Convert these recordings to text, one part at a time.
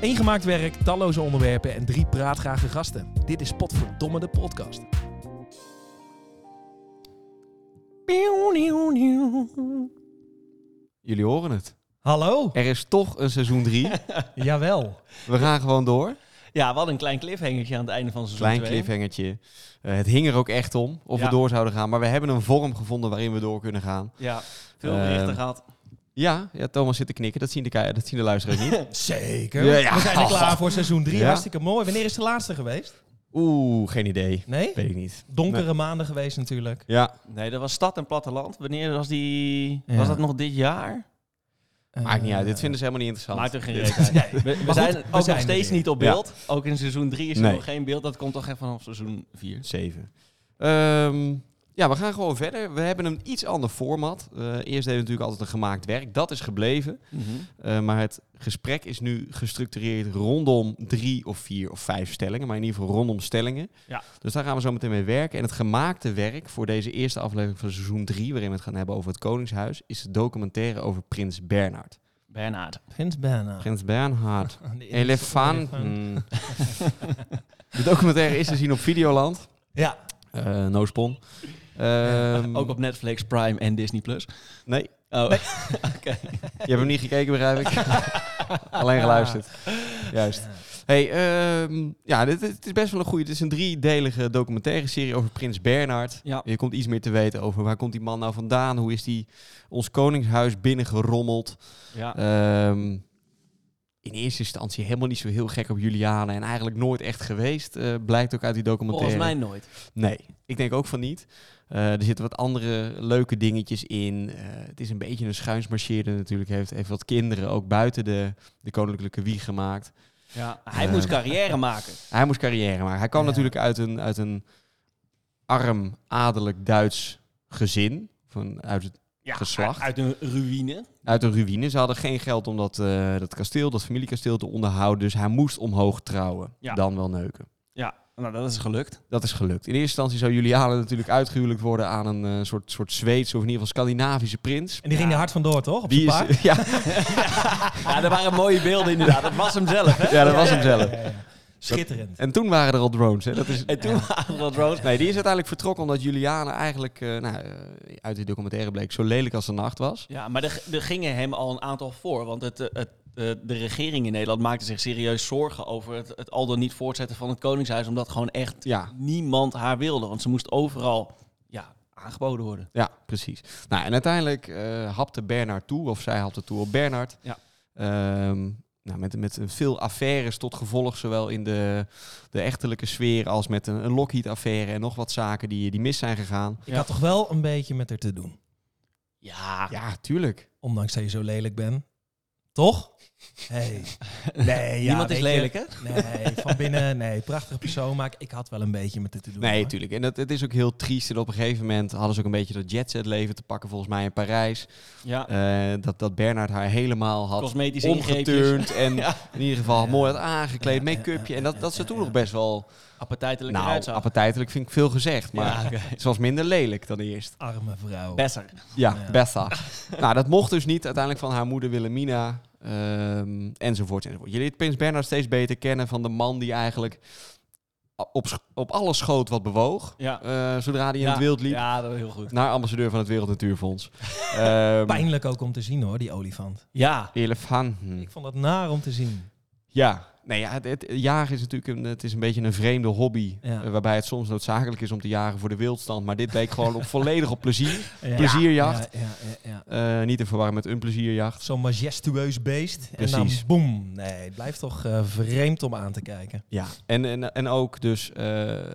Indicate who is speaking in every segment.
Speaker 1: Eén gemaakt werk, talloze onderwerpen en drie praatgrage gasten. Dit is Potverdomme de podcast.
Speaker 2: Jullie horen het.
Speaker 3: Hallo?
Speaker 2: Er is toch een seizoen 3.
Speaker 3: Jawel.
Speaker 2: We gaan gewoon door.
Speaker 4: Ja, we hadden een klein cliffhangertje aan het einde van seizoen
Speaker 2: Klein
Speaker 4: 2.
Speaker 2: cliffhangertje. Eh, het hing er ook echt om of
Speaker 4: Ja.
Speaker 2: we door zouden gaan. Maar we hebben een vorm gevonden waarin we door kunnen gaan.
Speaker 4: Ja, veel
Speaker 2: Ehm,
Speaker 4: berichten gehad.
Speaker 2: Ja, ja Thomas zit te knikken. Dat zien de, ki- dat zien de luisteraars niet.
Speaker 3: Zeker.
Speaker 2: Ja, ja.
Speaker 3: We zijn er klaar voor seizoen 3.
Speaker 2: Ja.
Speaker 3: Hartstikke mooi. Wanneer is de laatste geweest?
Speaker 2: Oeh, geen idee.
Speaker 3: Nee?
Speaker 2: Weet ik niet.
Speaker 3: Donkere maanden geweest natuurlijk.
Speaker 2: Ja,
Speaker 4: Nee, dat was Stad en Platteland. Wanneer was die...
Speaker 3: Ja.
Speaker 4: Was dat nog dit jaar?
Speaker 2: maakt niet uit. Dit
Speaker 3: vind
Speaker 2: vinden ze helemaal niet interessant.
Speaker 4: Maakt er geen reet uit. We, we
Speaker 3: goed,
Speaker 4: zijn
Speaker 3: we
Speaker 4: ook
Speaker 3: zijn
Speaker 4: nog
Speaker 3: er
Speaker 4: steeds
Speaker 3: weer.
Speaker 4: niet op
Speaker 2: Ja.
Speaker 4: beeld. Ook in seizoen 3 is er
Speaker 2: Nee.
Speaker 4: nog geen beeld. Dat komt toch echt vanaf seizoen 4.
Speaker 2: 7. Ehm, ja, we gaan gewoon verder. We hebben een iets ander format. Eh, eerst deden we natuurlijk altijd een gemaakt werk. Dat is gebleven. Eh, maar het gesprek is nu gestructureerd rondom drie of vier of vijf stellingen. Maar in ieder geval rondom stellingen.
Speaker 4: Ja.
Speaker 2: Dus daar gaan we zo meteen mee werken. En het gemaakte werk voor deze eerste aflevering van seizoen 3, waarin we het gaan hebben over het Koningshuis, is de documentaire over Prins Bernhard.
Speaker 4: Bernhard.
Speaker 3: Prins Bernhard.
Speaker 2: Prins Bernhard.
Speaker 3: Ah, de elefant.
Speaker 2: Elefanten. de documentaire is te zien op Videoland.
Speaker 3: Ja.
Speaker 2: Eh no spon. Ehm,
Speaker 4: Ook op Netflix, Prime en Disney+. Plus.
Speaker 2: Nee,
Speaker 4: Oh,
Speaker 2: je hebt hem niet gekeken, begrijp ik. Alleen geluisterd. Juist. Hey, ehm, ja, dit, dit is best wel een goede. Het is een driedelige documentaire serie over Prins Bernhard.
Speaker 4: ja.
Speaker 2: Je komt iets meer te weten over waar komt die man nou vandaan? Hoe is die ons koningshuis binnengerommeld?
Speaker 4: ja.
Speaker 2: Ehm, in eerste instantie helemaal niet zo heel gek op Julianen en eigenlijk nooit echt geweest, eh, blijkt ook uit die documentaire.
Speaker 4: Volgens mij nooit.
Speaker 2: Nee, ik denk ook van niet. Eh, er zitten wat andere leuke dingetjes in. Eh, het is een beetje een schuinsmarcheerder natuurlijk. Heeft, heeft wat kinderen ook buiten de, de koninklijke wieg gemaakt.
Speaker 4: Ja. Hij
Speaker 2: Eh,
Speaker 4: moest carrière maken.
Speaker 2: Hij moest carrière maken. Hij kwam
Speaker 3: Ja.
Speaker 2: natuurlijk uit een, uit een arm, adellijk Duits gezin. Van, uit, het-
Speaker 4: Ja,
Speaker 2: geslacht.
Speaker 4: Uit een ruïne.
Speaker 2: uit een ruïne. Ze hadden geen geld om dat, eh, dat kasteel, dat familiekasteel te onderhouden. Dus hij moest omhoog trouwen.
Speaker 4: Ja.
Speaker 2: Dan wel neuken.
Speaker 4: Ja, nou dat is gelukt.
Speaker 2: Dat is gelukt. In eerste instantie zou Juliana natuurlijk uitgehuwelijkd worden aan een eh, soort, soort Zweedse of in ieder geval Scandinavische prins.
Speaker 3: En die ging er hard vandoor, toch? Op
Speaker 2: Die
Speaker 3: zijn paard?
Speaker 2: is, ja,
Speaker 4: Ja, er waren mooie beelden inderdaad. Dat was hem zelf, hè?
Speaker 2: ja, dat was hem zelf.
Speaker 3: Ja, ja, ja. Schitterend.
Speaker 2: En toen waren er al drones. Hè. Dat is,
Speaker 4: En toen waren dat Rose.
Speaker 2: Nee, die is uiteindelijk vertrokken omdat Juliane eigenlijk, eh, nou, eh, uit die documentaire bleek, zo lelijk als de nacht was.
Speaker 4: Ja, maar er, er gingen hem al een aantal voor. Want het, eh, het, eh, de regering in Nederland maakte zich serieus zorgen over het, het al dan niet voortzetten van het Koningshuis. Omdat gewoon echt
Speaker 2: Ja,
Speaker 4: niemand haar wilde. Want ze moest overal ja, aangeboden worden.
Speaker 2: ja, precies. Nou, en uiteindelijk eh, hapte Bernard toe, of zij hapte toe op Bernard.
Speaker 4: Ja.
Speaker 2: Ehm, nou, met, met veel affaires tot gevolg, zowel in de, de echtelijke sfeer als met een, een Lockheed-affaire en nog wat zaken die, die mis zijn gegaan.
Speaker 3: Ik had toch wel een beetje met haar te doen.
Speaker 4: Ja,
Speaker 2: Ja, tuurlijk.
Speaker 3: Ondanks dat je zo lelijk bent. Toch? Hey. Nee, ja,
Speaker 4: niemand is
Speaker 3: weet je.
Speaker 4: lelijk, hè?
Speaker 3: Nee, van binnen, nee, prachtige persoon, maar ik- ik had wel een beetje met dit te doen.
Speaker 2: Nee,
Speaker 3: hoor.
Speaker 2: tuurlijk. En dat, het is ook heel triest. En op een gegeven moment hadden ze ook een beetje dat jetset leven te pakken, volgens mij in Parijs.
Speaker 4: Ja,
Speaker 2: Eh, dat, dat Bernard haar helemaal had
Speaker 4: cosmetische ingreepjes.
Speaker 2: omgeturnd en
Speaker 4: Ja.
Speaker 2: in ieder geval
Speaker 3: Ja.
Speaker 2: mooi had aangekleed,
Speaker 3: Ja, ja,
Speaker 2: make-upje.
Speaker 3: ja,
Speaker 2: En dat,
Speaker 3: ja,
Speaker 2: dat ze
Speaker 3: ja,
Speaker 2: toen
Speaker 3: ja.
Speaker 2: nog best wel...
Speaker 4: Appetijtelijk
Speaker 2: Nou,
Speaker 4: eruit zag.
Speaker 2: appetijtelijk vind ik veel gezegd, maar
Speaker 4: Ja, oké.
Speaker 2: ze was minder lelijk dan eerst.
Speaker 3: Arme vrouw.
Speaker 4: Besser.
Speaker 2: Ja,
Speaker 3: Ja.
Speaker 2: Betha. nou, dat mocht dus niet uiteindelijk van haar moeder Wilhelmina ehm enzovoort, enzovoort. Je leert Prins Bernhard steeds beter kennen van de man die eigenlijk op, sch- op alles schoot wat bewoog.
Speaker 4: Ja.
Speaker 2: eh, zodra hij in
Speaker 4: ja.
Speaker 2: het wild liep.
Speaker 4: Ja, dat is heel goed.
Speaker 2: Naar ambassadeur van het Wereld Natuurfonds. Ehm
Speaker 3: Pijnlijk ook om te zien hoor, die olifant.
Speaker 4: Ja,
Speaker 2: elefanten.
Speaker 3: Ik vond dat naar om te zien.
Speaker 2: Ja, nee, ja, het, het jagen is natuurlijk een, het is een beetje een vreemde hobby.
Speaker 3: Ja.
Speaker 2: eh, waarbij het soms noodzakelijk is om te jagen voor de wildstand. Maar dit leek gewoon op volledig op plezier.
Speaker 3: Ja.
Speaker 2: Plezierjacht.
Speaker 3: Ja, ja, ja, ja.
Speaker 2: Eh, niet te verwarren met een plezierjacht.
Speaker 3: Zo'n majestueus beest. En
Speaker 2: Precies.
Speaker 3: dan boem. Nee, het blijft toch eh, vreemd om aan te kijken.
Speaker 2: Ja. En, en, en ook dus eh,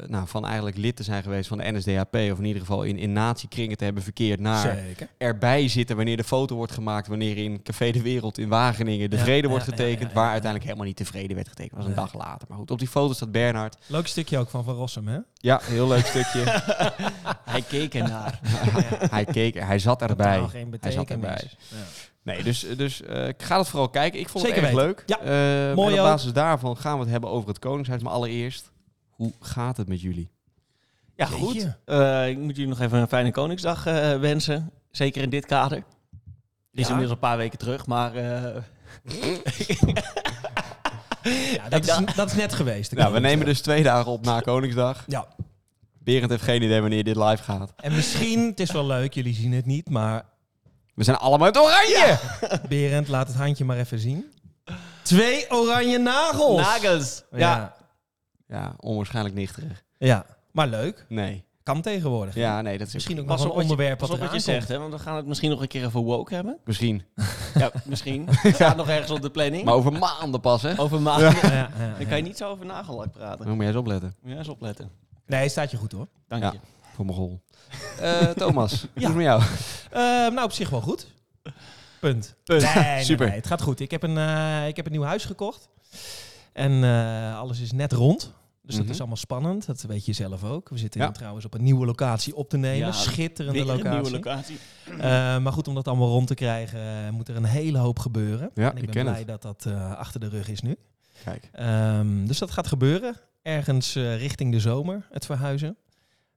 Speaker 2: nou, van eigenlijk lid te zijn geweest van de NSDAP. Of in ieder geval in, in natiekringen te hebben verkeerd naar
Speaker 3: Zeker.
Speaker 2: erbij zitten wanneer de foto wordt gemaakt. Wanneer in Café de Wereld in Wageningen de
Speaker 3: Ja,
Speaker 2: vrede
Speaker 3: ja,
Speaker 2: wordt
Speaker 3: ja, ja,
Speaker 2: getekend.
Speaker 3: ja,
Speaker 2: Waar
Speaker 3: ja.
Speaker 2: uiteindelijk helemaal niet de vrede werd getekend. Dat was een
Speaker 3: Nee.
Speaker 2: dag later. Maar goed, op die foto staat Bernhard.
Speaker 3: Leuk stukje ook van Van Rossum, hè?
Speaker 2: Ja, heel leuk stukje.
Speaker 4: hij keek ernaar.
Speaker 2: hij keek, er, hij zat erbij.
Speaker 3: Totaal geen
Speaker 2: Hij zat
Speaker 3: betekenis.
Speaker 2: erbij.
Speaker 3: Ja.
Speaker 2: Nee, dus, dus eh, ik ga dat vooral kijken. Ik vond
Speaker 3: Zeker
Speaker 2: het echt leuk.
Speaker 3: Ja,
Speaker 2: Eh,
Speaker 3: mooi
Speaker 2: en op
Speaker 3: ook.
Speaker 2: basis daarvan gaan we het hebben over het Koningshuis. Maar allereerst, hoe gaat het met jullie?
Speaker 4: Ja,
Speaker 3: Jeetje.
Speaker 4: goed. Eh, ik moet jullie nog even een fijne Koningsdag eh, wensen. Zeker in dit kader. Die is
Speaker 2: Ja.
Speaker 4: inmiddels een paar weken terug, maar... eh,
Speaker 3: Ja, dat, is, dat is net geweest.
Speaker 2: Nou, we nemen dus twee dagen op na Koningsdag.
Speaker 3: Ja,
Speaker 2: Berend heeft geen idee wanneer dit live gaat.
Speaker 3: en misschien, het is wel leuk, jullie zien het niet, maar
Speaker 2: We zijn allemaal in het oranje!
Speaker 3: Berend, laat het handje maar even zien. Twee oranje nagels.
Speaker 4: Nagels. Ja.
Speaker 3: Ja.
Speaker 2: Ja, onwaarschijnlijk nichterig.
Speaker 3: ja, maar leuk.
Speaker 2: Nee.
Speaker 3: Kan tegenwoordig.
Speaker 2: Ja, nee, dat is
Speaker 3: Misschien ook
Speaker 4: Pas
Speaker 3: nog
Speaker 4: op
Speaker 3: een
Speaker 4: wat je-
Speaker 3: onderwerp
Speaker 4: Pas op wat je
Speaker 3: eraan
Speaker 4: zegt,
Speaker 3: komt.
Speaker 4: hè, want we gaan het misschien nog een keer even woke hebben.
Speaker 2: Misschien.
Speaker 4: Ja, misschien. Het staat nog ergens op de planning.
Speaker 2: Maar over maanden pas,
Speaker 3: Oh.
Speaker 2: hè?
Speaker 4: Over maanden.
Speaker 3: Ja, ja, ja.
Speaker 4: Dan kan je niet zo over nagellak praten.
Speaker 2: Dan moet jij eens opletten.
Speaker 4: Moet je eens opletten.
Speaker 3: Nee, staat je goed hoor.
Speaker 4: Dank
Speaker 2: Ja.
Speaker 4: je.
Speaker 2: Voor mijn goal. Eh, Thomas, hoe is het met jou?
Speaker 3: Eh, nou, op zich wel goed. Punt. Nee, nee,
Speaker 2: Super.
Speaker 3: nee, het gaat goed. Ik heb een, eh, ik heb een nieuw huis gekocht. En eh, alles is net rond. Dus dat
Speaker 2: Mhm.
Speaker 3: is allemaal spannend. Dat weet je zelf ook. We zitten
Speaker 2: Ja.
Speaker 3: nu trouwens op een nieuwe locatie op te nemen.
Speaker 4: Ja,
Speaker 3: Schitterende
Speaker 4: Weer
Speaker 3: locatie.
Speaker 4: een nieuwe locatie.
Speaker 3: Eh, maar goed, om dat allemaal rond te krijgen, eh, moet er een hele hoop gebeuren.
Speaker 2: Ja,
Speaker 3: en
Speaker 2: ik
Speaker 3: ik ben
Speaker 2: ken
Speaker 3: blij
Speaker 2: het.
Speaker 3: dat dat eh, achter de rug is nu.
Speaker 2: Kijk.
Speaker 3: Ehm, dus dat gaat gebeuren. Ergens eh, richting de zomer, het verhuizen.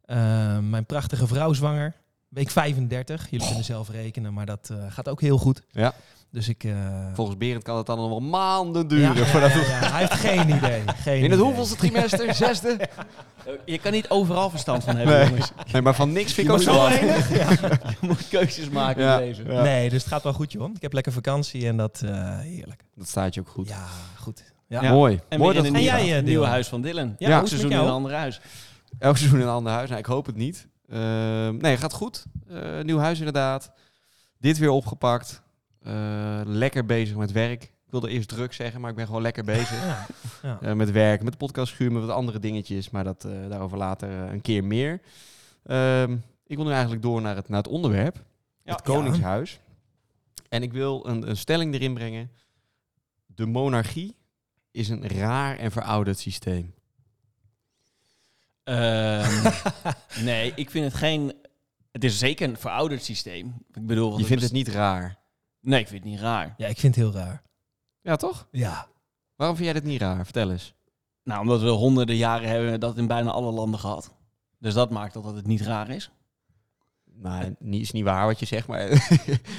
Speaker 3: Ehm, mijn prachtige vrouw zwanger. Week 35. Jullie kunnen zelf rekenen, maar dat eh, gaat ook heel goed.
Speaker 2: Oh. Ja.
Speaker 3: Dus ik... eh,
Speaker 2: Volgens Berend kan het dan nog wel maanden
Speaker 3: ja,
Speaker 2: duren. voordat
Speaker 3: ja,
Speaker 2: we-
Speaker 3: ja, hij heeft geen idee. Geen
Speaker 2: In
Speaker 3: idee.
Speaker 2: het hoeveelste trimester? Zesde?
Speaker 4: Eh, Je kan niet overal verstand van hebben,
Speaker 2: Nee.
Speaker 4: jongens.
Speaker 2: Nee, maar van niks vind ik
Speaker 4: Je
Speaker 2: ook
Speaker 4: moet
Speaker 2: zo
Speaker 4: zo
Speaker 2: wat.
Speaker 4: Je moet keuzes maken
Speaker 2: Ja.
Speaker 4: in leven.
Speaker 2: Ja.
Speaker 3: Nee, dus het gaat wel goed, joh. Ik heb lekker vakantie en dat... eh, heerlijk.
Speaker 2: Dat staat je ook goed.
Speaker 3: Ja, goed.
Speaker 4: Ja.
Speaker 2: Mooi.
Speaker 4: En
Speaker 2: Mooi dat
Speaker 4: weer in een
Speaker 3: En
Speaker 4: nieuwe,
Speaker 3: jij, eh,
Speaker 4: nieuwe
Speaker 3: Dylan?
Speaker 4: huis van Dylan.
Speaker 3: Ja,
Speaker 2: Ja.
Speaker 3: hoe is het
Speaker 4: Seizoen
Speaker 3: met
Speaker 4: in een
Speaker 3: jou?
Speaker 4: ander huis.
Speaker 2: elk seizoen een ander huis. Nou, ik hoop het niet. Ehm, nee, gaat goed. Eh, nieuw huis inderdaad. Dit weer opgepakt. Eh, lekker bezig met werk. Ik wilde eerst druk zeggen, maar ik ben gewoon lekker bezig.
Speaker 3: Ja, ja.
Speaker 2: Eh, met werk, met de podcastschuur, met wat andere dingetjes. Maar dat, eh, daarover later eh, een keer meer. Ehm, ik wil nu eigenlijk door naar het, naar het onderwerp.
Speaker 4: Ja.
Speaker 2: het Koningshuis. En ik wil een, een stelling erin brengen. De monarchie is een raar en verouderd systeem.
Speaker 4: Ehm, nee, ik vind het geen... Het is zeker een verouderd systeem. Ik bedoel, want
Speaker 2: Je vindt het niet raar.
Speaker 4: Nee, ik vind het niet raar.
Speaker 3: ja, ik vind het heel raar.
Speaker 2: Ja, toch?
Speaker 3: Ja.
Speaker 2: Waarom vind jij dit niet raar? Vertel eens.
Speaker 4: Nou, omdat we honderden jaren hebben dat in bijna alle landen gehad. Dus dat maakt dat het niet raar is.
Speaker 2: Nou, niet, is niet waar wat je zegt, maar in,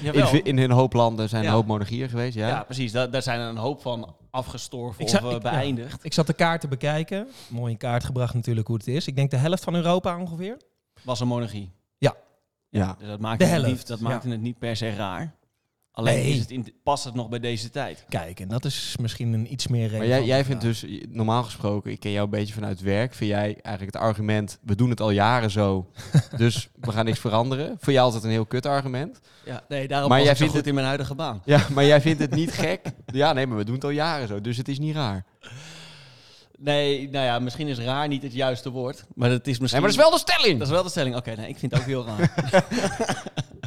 Speaker 4: Jawel.
Speaker 2: in een hoop landen zijn een
Speaker 4: Ja.
Speaker 2: hoop monarchieën geweest, ja.
Speaker 4: ja. precies. Daar, daar zijn er een hoop van afgestorven
Speaker 3: Ik zou-
Speaker 4: of eh,
Speaker 3: ik- ja.
Speaker 4: beëindigd.
Speaker 3: Ik zat de kaart te bekijken. Mooi in kaart gebracht natuurlijk hoe het is. Ik denk de helft van Europa ongeveer.
Speaker 4: Was een monarchie.
Speaker 2: ja.
Speaker 4: Dus dat maakt
Speaker 3: De
Speaker 4: het niet,
Speaker 3: helft,
Speaker 4: dat
Speaker 3: ja.
Speaker 4: maakte het niet per se raar. Alleen
Speaker 3: Nee.
Speaker 4: is het in, past het nog bij deze tijd.
Speaker 3: Kijk, en dat is misschien een iets meer
Speaker 2: Maar
Speaker 3: reden.
Speaker 2: jij, jij vindt dus, normaal gesproken, ik ken jou een beetje vanuit werk, vind jij eigenlijk het argument, we doen het al jaren zo, dus we gaan niks veranderen. Voor jou altijd een heel kut argument.
Speaker 4: Ja, nee,
Speaker 2: Maar
Speaker 4: daarom
Speaker 2: jij
Speaker 4: maar jij vindt
Speaker 2: vindt
Speaker 4: goed in mijn huidige baan.
Speaker 2: Ja, maar jij vindt het niet gek? Ja, nee, maar we doen het al jaren zo, dus het is niet raar.
Speaker 4: Nee, nou ja, misschien is raar niet het juiste woord. Maar dat is
Speaker 2: Nee,
Speaker 4: misschien...
Speaker 2: maar dat is wel de
Speaker 4: Dat
Speaker 2: stelling!
Speaker 4: is wel de stelling. Oké, nee, ik vind het ook heel raar.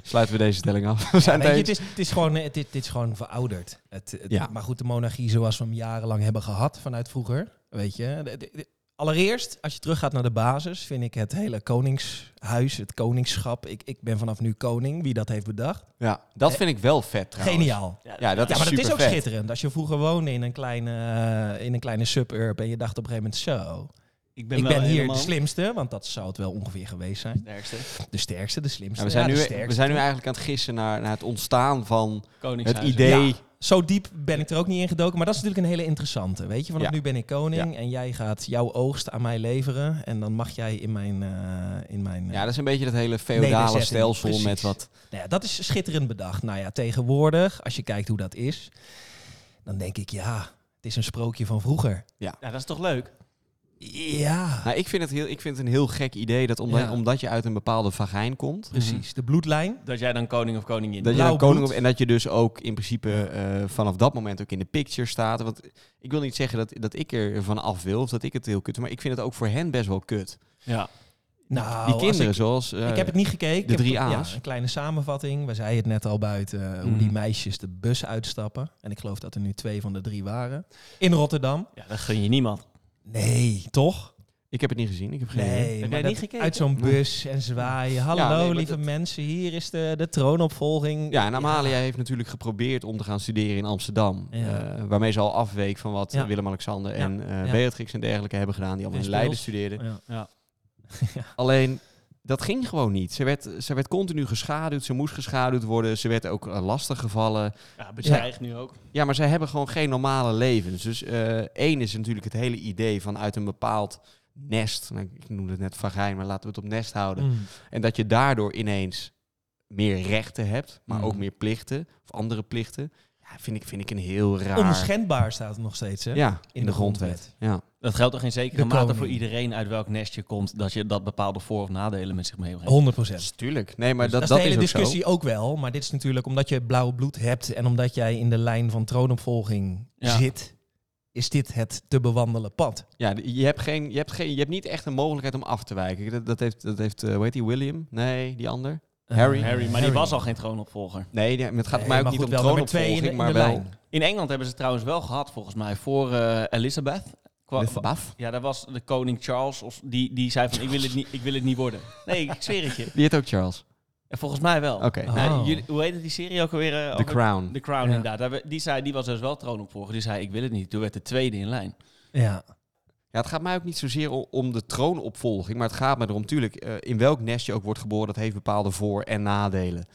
Speaker 2: Sluiten we deze stelling af. We zijn
Speaker 3: Weet je, het,
Speaker 2: het eens.
Speaker 3: is, het, is gewoon, eh, het, is- het is gewoon verouderd. Het, het-
Speaker 2: Ja.
Speaker 3: Maar goed, de monarchie zoals we hem jarenlang hebben gehad vanuit vroeger. Weet je. De- de- de- allereerst, als je teruggaat naar de basis, vind ik het hele koningshuis, het koningschap. Ik, ik ben vanaf nu koning, wie dat heeft bedacht.
Speaker 2: Ja, dat vind ik wel vet trouwens.
Speaker 3: Eh, Geniaal.
Speaker 2: Ja, dat
Speaker 3: Ja,
Speaker 2: is
Speaker 3: maar dat is ook
Speaker 2: supervet.
Speaker 3: schitterend. Als je vroeger woonde in een kleine, eh, in een kleine suburb en je dacht op een gegeven moment zo,
Speaker 4: Ik
Speaker 3: ik ben
Speaker 4: wel
Speaker 3: hier
Speaker 4: helemaal
Speaker 3: de slimste, want dat zou het wel ongeveer geweest zijn.
Speaker 4: Sterkste.
Speaker 3: De sterkste, de slimste.
Speaker 2: Ja, we, zijn
Speaker 3: Ja, de
Speaker 2: nu,
Speaker 3: sterkste.
Speaker 2: we zijn nu eigenlijk aan het gissen naar, naar het ontstaan van het
Speaker 4: Koningshuizen.
Speaker 2: idee...
Speaker 3: Ja. Zo diep ben ik er ook niet in gedoken. Maar dat is natuurlijk een hele interessante. Weet je, vanaf
Speaker 2: Ja.
Speaker 3: nu ben ik koning en jij gaat jouw oogst aan mij leveren. En dan mag jij in mijn. eh, in mijn eh,
Speaker 2: Ja, dat is een beetje dat hele feodale
Speaker 3: Nederzetting,
Speaker 2: stelsel
Speaker 3: precies.
Speaker 2: met wat...
Speaker 3: Nou ja, dat is schitterend bedacht. Nou ja, tegenwoordig, als je kijkt hoe dat is, dan denk ik ja, het is een sprookje van vroeger.
Speaker 4: Ja, dat is toch leuk?
Speaker 3: Ja,
Speaker 2: Nou, ik, vind het heel, ik vind het een heel gek idee dat omdat,
Speaker 3: Ja.
Speaker 2: omdat je uit een bepaalde vagijn komt...
Speaker 3: precies. Mhm. De bloedlijn.
Speaker 4: Dat jij dan koning of koningin
Speaker 2: Dat
Speaker 4: bent.
Speaker 2: je dan
Speaker 3: Blauw
Speaker 2: koning
Speaker 3: bloed.
Speaker 2: op, en dat je dus ook in principe eh, vanaf dat moment ook in de picture staat. Want ik wil niet zeggen dat, dat ik er van af wil of dat ik het heel kut vind, maar ik vind het ook voor hen best wel kut.
Speaker 4: Ja.
Speaker 3: Nou,
Speaker 2: Die
Speaker 3: als
Speaker 2: kinderen
Speaker 3: Ik,
Speaker 2: zoals... eh,
Speaker 3: ik heb het niet gekeken.
Speaker 2: de
Speaker 3: Ik heb
Speaker 2: drie
Speaker 3: het- ja,
Speaker 2: A's.
Speaker 3: een kleine samenvatting. We zeiden het net al buiten eh, hoe
Speaker 2: Mhm.
Speaker 3: die meisjes de bus uitstappen. En ik geloof dat er nu twee van de drie waren. In Rotterdam.
Speaker 4: ja, dat gun je niemand.
Speaker 3: Nee, toch?
Speaker 2: ik heb het niet gezien, ik heb geen idee.
Speaker 3: Nee,
Speaker 4: jij
Speaker 3: maar
Speaker 4: niet
Speaker 3: dat-
Speaker 4: gekeken?
Speaker 3: uit zo'n bus en zwaaien. Hallo,
Speaker 2: nee, maar
Speaker 3: lieve
Speaker 2: dat-
Speaker 3: mensen, hier is de, de troonopvolging.
Speaker 2: Ja, en Amalia heeft natuurlijk geprobeerd om te gaan studeren in Amsterdam.
Speaker 3: Ja.
Speaker 2: eh, waarmee ze al afweek van wat
Speaker 3: Ja.
Speaker 2: eh, Willem-Alexander
Speaker 3: Ja.
Speaker 2: en eh,
Speaker 3: Ja.
Speaker 2: Beatrix en dergelijke hebben gedaan. Die allemaal in
Speaker 3: Prins
Speaker 2: Leiden
Speaker 3: Pils.
Speaker 2: studeerden.
Speaker 3: Ja.
Speaker 2: Alleen, dat ging gewoon niet. Ze werd, ze werd continu geschaduwd, ze moest geschaduwd worden, ze werd ook eh, lastig lastiggevallen.
Speaker 4: Ja, bedreigd nu ook.
Speaker 2: Ja, maar zij hebben gewoon geen normale levens. Dus eh, één is natuurlijk het hele idee van uit een bepaald nest. Nou, ik noemde het net vagijn, maar laten we het op nest houden.
Speaker 3: Mm.
Speaker 2: En dat je daardoor ineens meer rechten hebt, maar
Speaker 3: Mm.
Speaker 2: ook meer plichten of andere plichten. Ja, vind ik, vind ik een heel raar.
Speaker 3: Onschendbaar staat het nog steeds, hè?
Speaker 2: ja, in, de, grondwet. Ja.
Speaker 4: Dat geldt toch in zekere
Speaker 3: De
Speaker 4: mate
Speaker 3: koning.
Speaker 4: voor iedereen uit welk nest je komt, dat je dat bepaalde voor- of nadelen met zich meebrengt.
Speaker 3: 100
Speaker 2: Dat is Dus tuurlijk. Nee, maar dat,
Speaker 3: Dus dat,
Speaker 2: dat,
Speaker 3: is de
Speaker 2: is
Speaker 3: hele
Speaker 2: ook
Speaker 3: discussie ook wel. Maar dit is natuurlijk omdat je blauw bloed hebt en omdat jij in de lijn van troonopvolging
Speaker 4: Ja.
Speaker 3: zit, is dit het te bewandelen pad.
Speaker 2: zo. Ja, d- je hebt, geen, je, hebt geen, je hebt niet echt een mogelijkheid om af te wijken. Dat, dat heeft, dat heeft eh, hoe heet die, William? Nee, die ander? Harry.
Speaker 4: Eh, Harry, maar die was al geen troonopvolger.
Speaker 2: Nee, die- maar het gaat
Speaker 3: Nee,
Speaker 2: mij ook
Speaker 3: maar
Speaker 2: niet
Speaker 3: goed,
Speaker 2: om
Speaker 3: wel nummer twee
Speaker 2: troonopvolging,
Speaker 3: in de-
Speaker 2: maar
Speaker 3: in de
Speaker 2: wel...
Speaker 3: lijn.
Speaker 4: In Engeland hebben ze trouwens wel gehad, volgens mij, voor eh Elizabeth. Kwa-
Speaker 2: Met Baf.
Speaker 4: Ja, daar was de koning Charles, of die, die zei van, ik wil, het niet, ik wil het niet worden. Nee, ik zweer het je.
Speaker 2: Die heet ook Charles.
Speaker 4: En volgens mij wel.
Speaker 2: Oké.
Speaker 3: Oh.
Speaker 4: Nou, jullie- hoe heette die serie ook alweer? eh,
Speaker 2: The
Speaker 4: over-
Speaker 2: Crown.
Speaker 4: The Crown,
Speaker 3: Ja.
Speaker 4: inderdaad. Daar we- Die, zei, die was dus wel troonopvolger. Die zei, ik wil het niet. Toen werd de tweede in lijn.
Speaker 3: Ja.
Speaker 2: Ja, het gaat mij ook niet zozeer o- om de troonopvolging, maar het gaat me erom, tuurlijk, eh, in welk nest je ook wordt geboren, dat heeft bepaalde voor- en nadelen.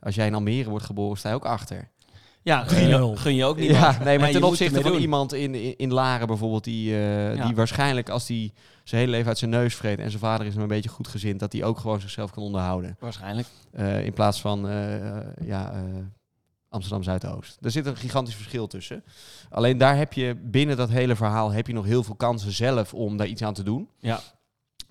Speaker 2: Als jij in Almere wordt geboren, sta je ook achter.
Speaker 4: Ja, gun je,
Speaker 3: 3-0.
Speaker 4: gun je ook niet.
Speaker 2: Ja, nee, maar ten opzichte van
Speaker 4: iemand.
Speaker 2: iemand in, in, in Laren bijvoorbeeld, die, eh,
Speaker 4: Ja.
Speaker 2: die waarschijnlijk als die zijn hele leven uit zijn neus vreet en zijn vader is hem een beetje goed gezind, dat hij ook gewoon zichzelf kan onderhouden.
Speaker 4: Waarschijnlijk.
Speaker 2: Eh, in plaats van eh, eh, ja, eh, Amsterdam Zuidoost. Er zit een gigantisch verschil tussen. Alleen daar heb je binnen dat hele verhaal heb je nog heel veel kansen zelf om daar iets aan te doen.
Speaker 4: Ja.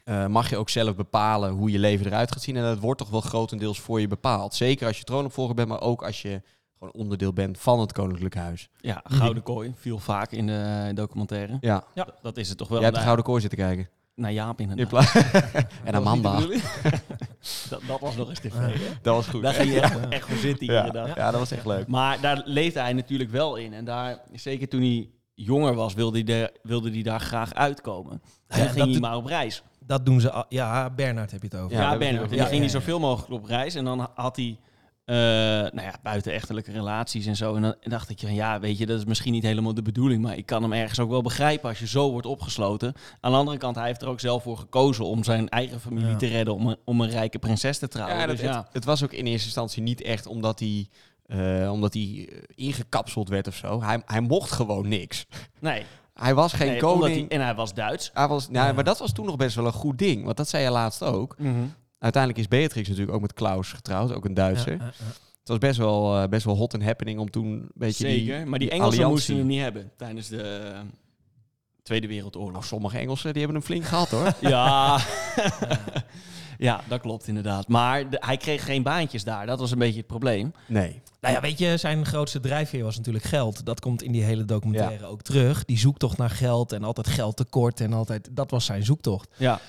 Speaker 2: Eh, mag je ook zelf bepalen hoe je leven eruit gaat zien. En dat wordt toch wel grotendeels voor je bepaald. Zeker als je troonopvolger bent, maar ook als je gewoon onderdeel bent van het Koninklijk Huis.
Speaker 4: Ja, Gouden Kooi viel vaak in de eh, documentaire.
Speaker 2: Mhm. Ja,
Speaker 4: D- Dat is het toch wel.
Speaker 2: jij hebt de
Speaker 4: Daar-
Speaker 2: Gouden Kooi zitten kijken.
Speaker 4: Naar Jaap
Speaker 2: In
Speaker 4: inderdaad.
Speaker 2: pla- en Amanda.
Speaker 4: dat, dat was nog eens tv.
Speaker 3: Ah.
Speaker 4: hè?
Speaker 2: Dat was goed.
Speaker 4: Daar ging je echt, echt voor zitten
Speaker 2: ja.
Speaker 4: inderdaad.
Speaker 2: ja, dat was echt leuk.
Speaker 4: Maar daar leefde hij natuurlijk wel in. En daar, zeker toen hij jonger was, wilde hij, daar- wilde hij daar graag uitkomen.
Speaker 3: Ja,
Speaker 4: En dan ging
Speaker 3: dat
Speaker 4: hij
Speaker 3: doet-
Speaker 4: maar op reis.
Speaker 3: Dat doen ze. al- Ja, Bernard heb je het over.
Speaker 2: Ja,
Speaker 4: Ja,
Speaker 2: we hebben het
Speaker 4: Bernard. En
Speaker 2: nu
Speaker 3: over-
Speaker 4: dan ging hij
Speaker 3: ja, ja,
Speaker 4: zoveel mogelijk op reis. En dan had hij eh, nou ja, buitenechtelijke relaties en zo. En dan dacht ik, van, ja, weet je, dat is misschien niet helemaal de bedoeling. Maar ik kan hem ergens ook wel begrijpen als je zo wordt opgesloten. Aan de andere kant, hij heeft er ook zelf voor gekozen om zijn eigen familie
Speaker 3: Ja.
Speaker 4: te redden. Om een, om een rijke prinses te trouwen.
Speaker 2: Ja, dat,
Speaker 4: dus ja.
Speaker 2: Het, het was ook in eerste instantie niet echt omdat hij, eh, omdat hij eh, ingekapseld werd of zo. Hij, hij mocht gewoon niks.
Speaker 4: Nee,
Speaker 2: Hij was geen
Speaker 4: nee, omdat
Speaker 2: koning.
Speaker 4: hij- en hij was Duits.
Speaker 2: Hij was, nou,
Speaker 3: Ja.
Speaker 2: Maar dat was toen nog best wel een goed ding. Want dat zei je laatst ook.
Speaker 4: Mhm.
Speaker 2: Uiteindelijk is Beatrix natuurlijk ook met Klaus getrouwd. Ook een Duitser.
Speaker 3: ja, ja.
Speaker 2: Het was best wel, eh, best wel hot en happening om toen een beetje
Speaker 4: Zeker.
Speaker 2: die
Speaker 4: maar die Engelsen
Speaker 2: alliantie-
Speaker 4: moesten hem niet hebben tijdens de eh, Tweede
Speaker 2: Nou,
Speaker 4: Wereldoorlog.
Speaker 2: sommige Engelsen die hebben hem flink gehad hoor.
Speaker 4: Ja. ja, dat klopt inderdaad. Maar de- hij kreeg geen baantjes daar. Dat was een beetje het probleem.
Speaker 2: Nee.
Speaker 3: Nou ja, weet je, zijn grootste drijfveer was natuurlijk geld. Dat komt in die hele documentaire ook terug. Die zoektocht naar geld en altijd geldtekort en altijd... Dat was zijn zoektocht.
Speaker 4: Ja.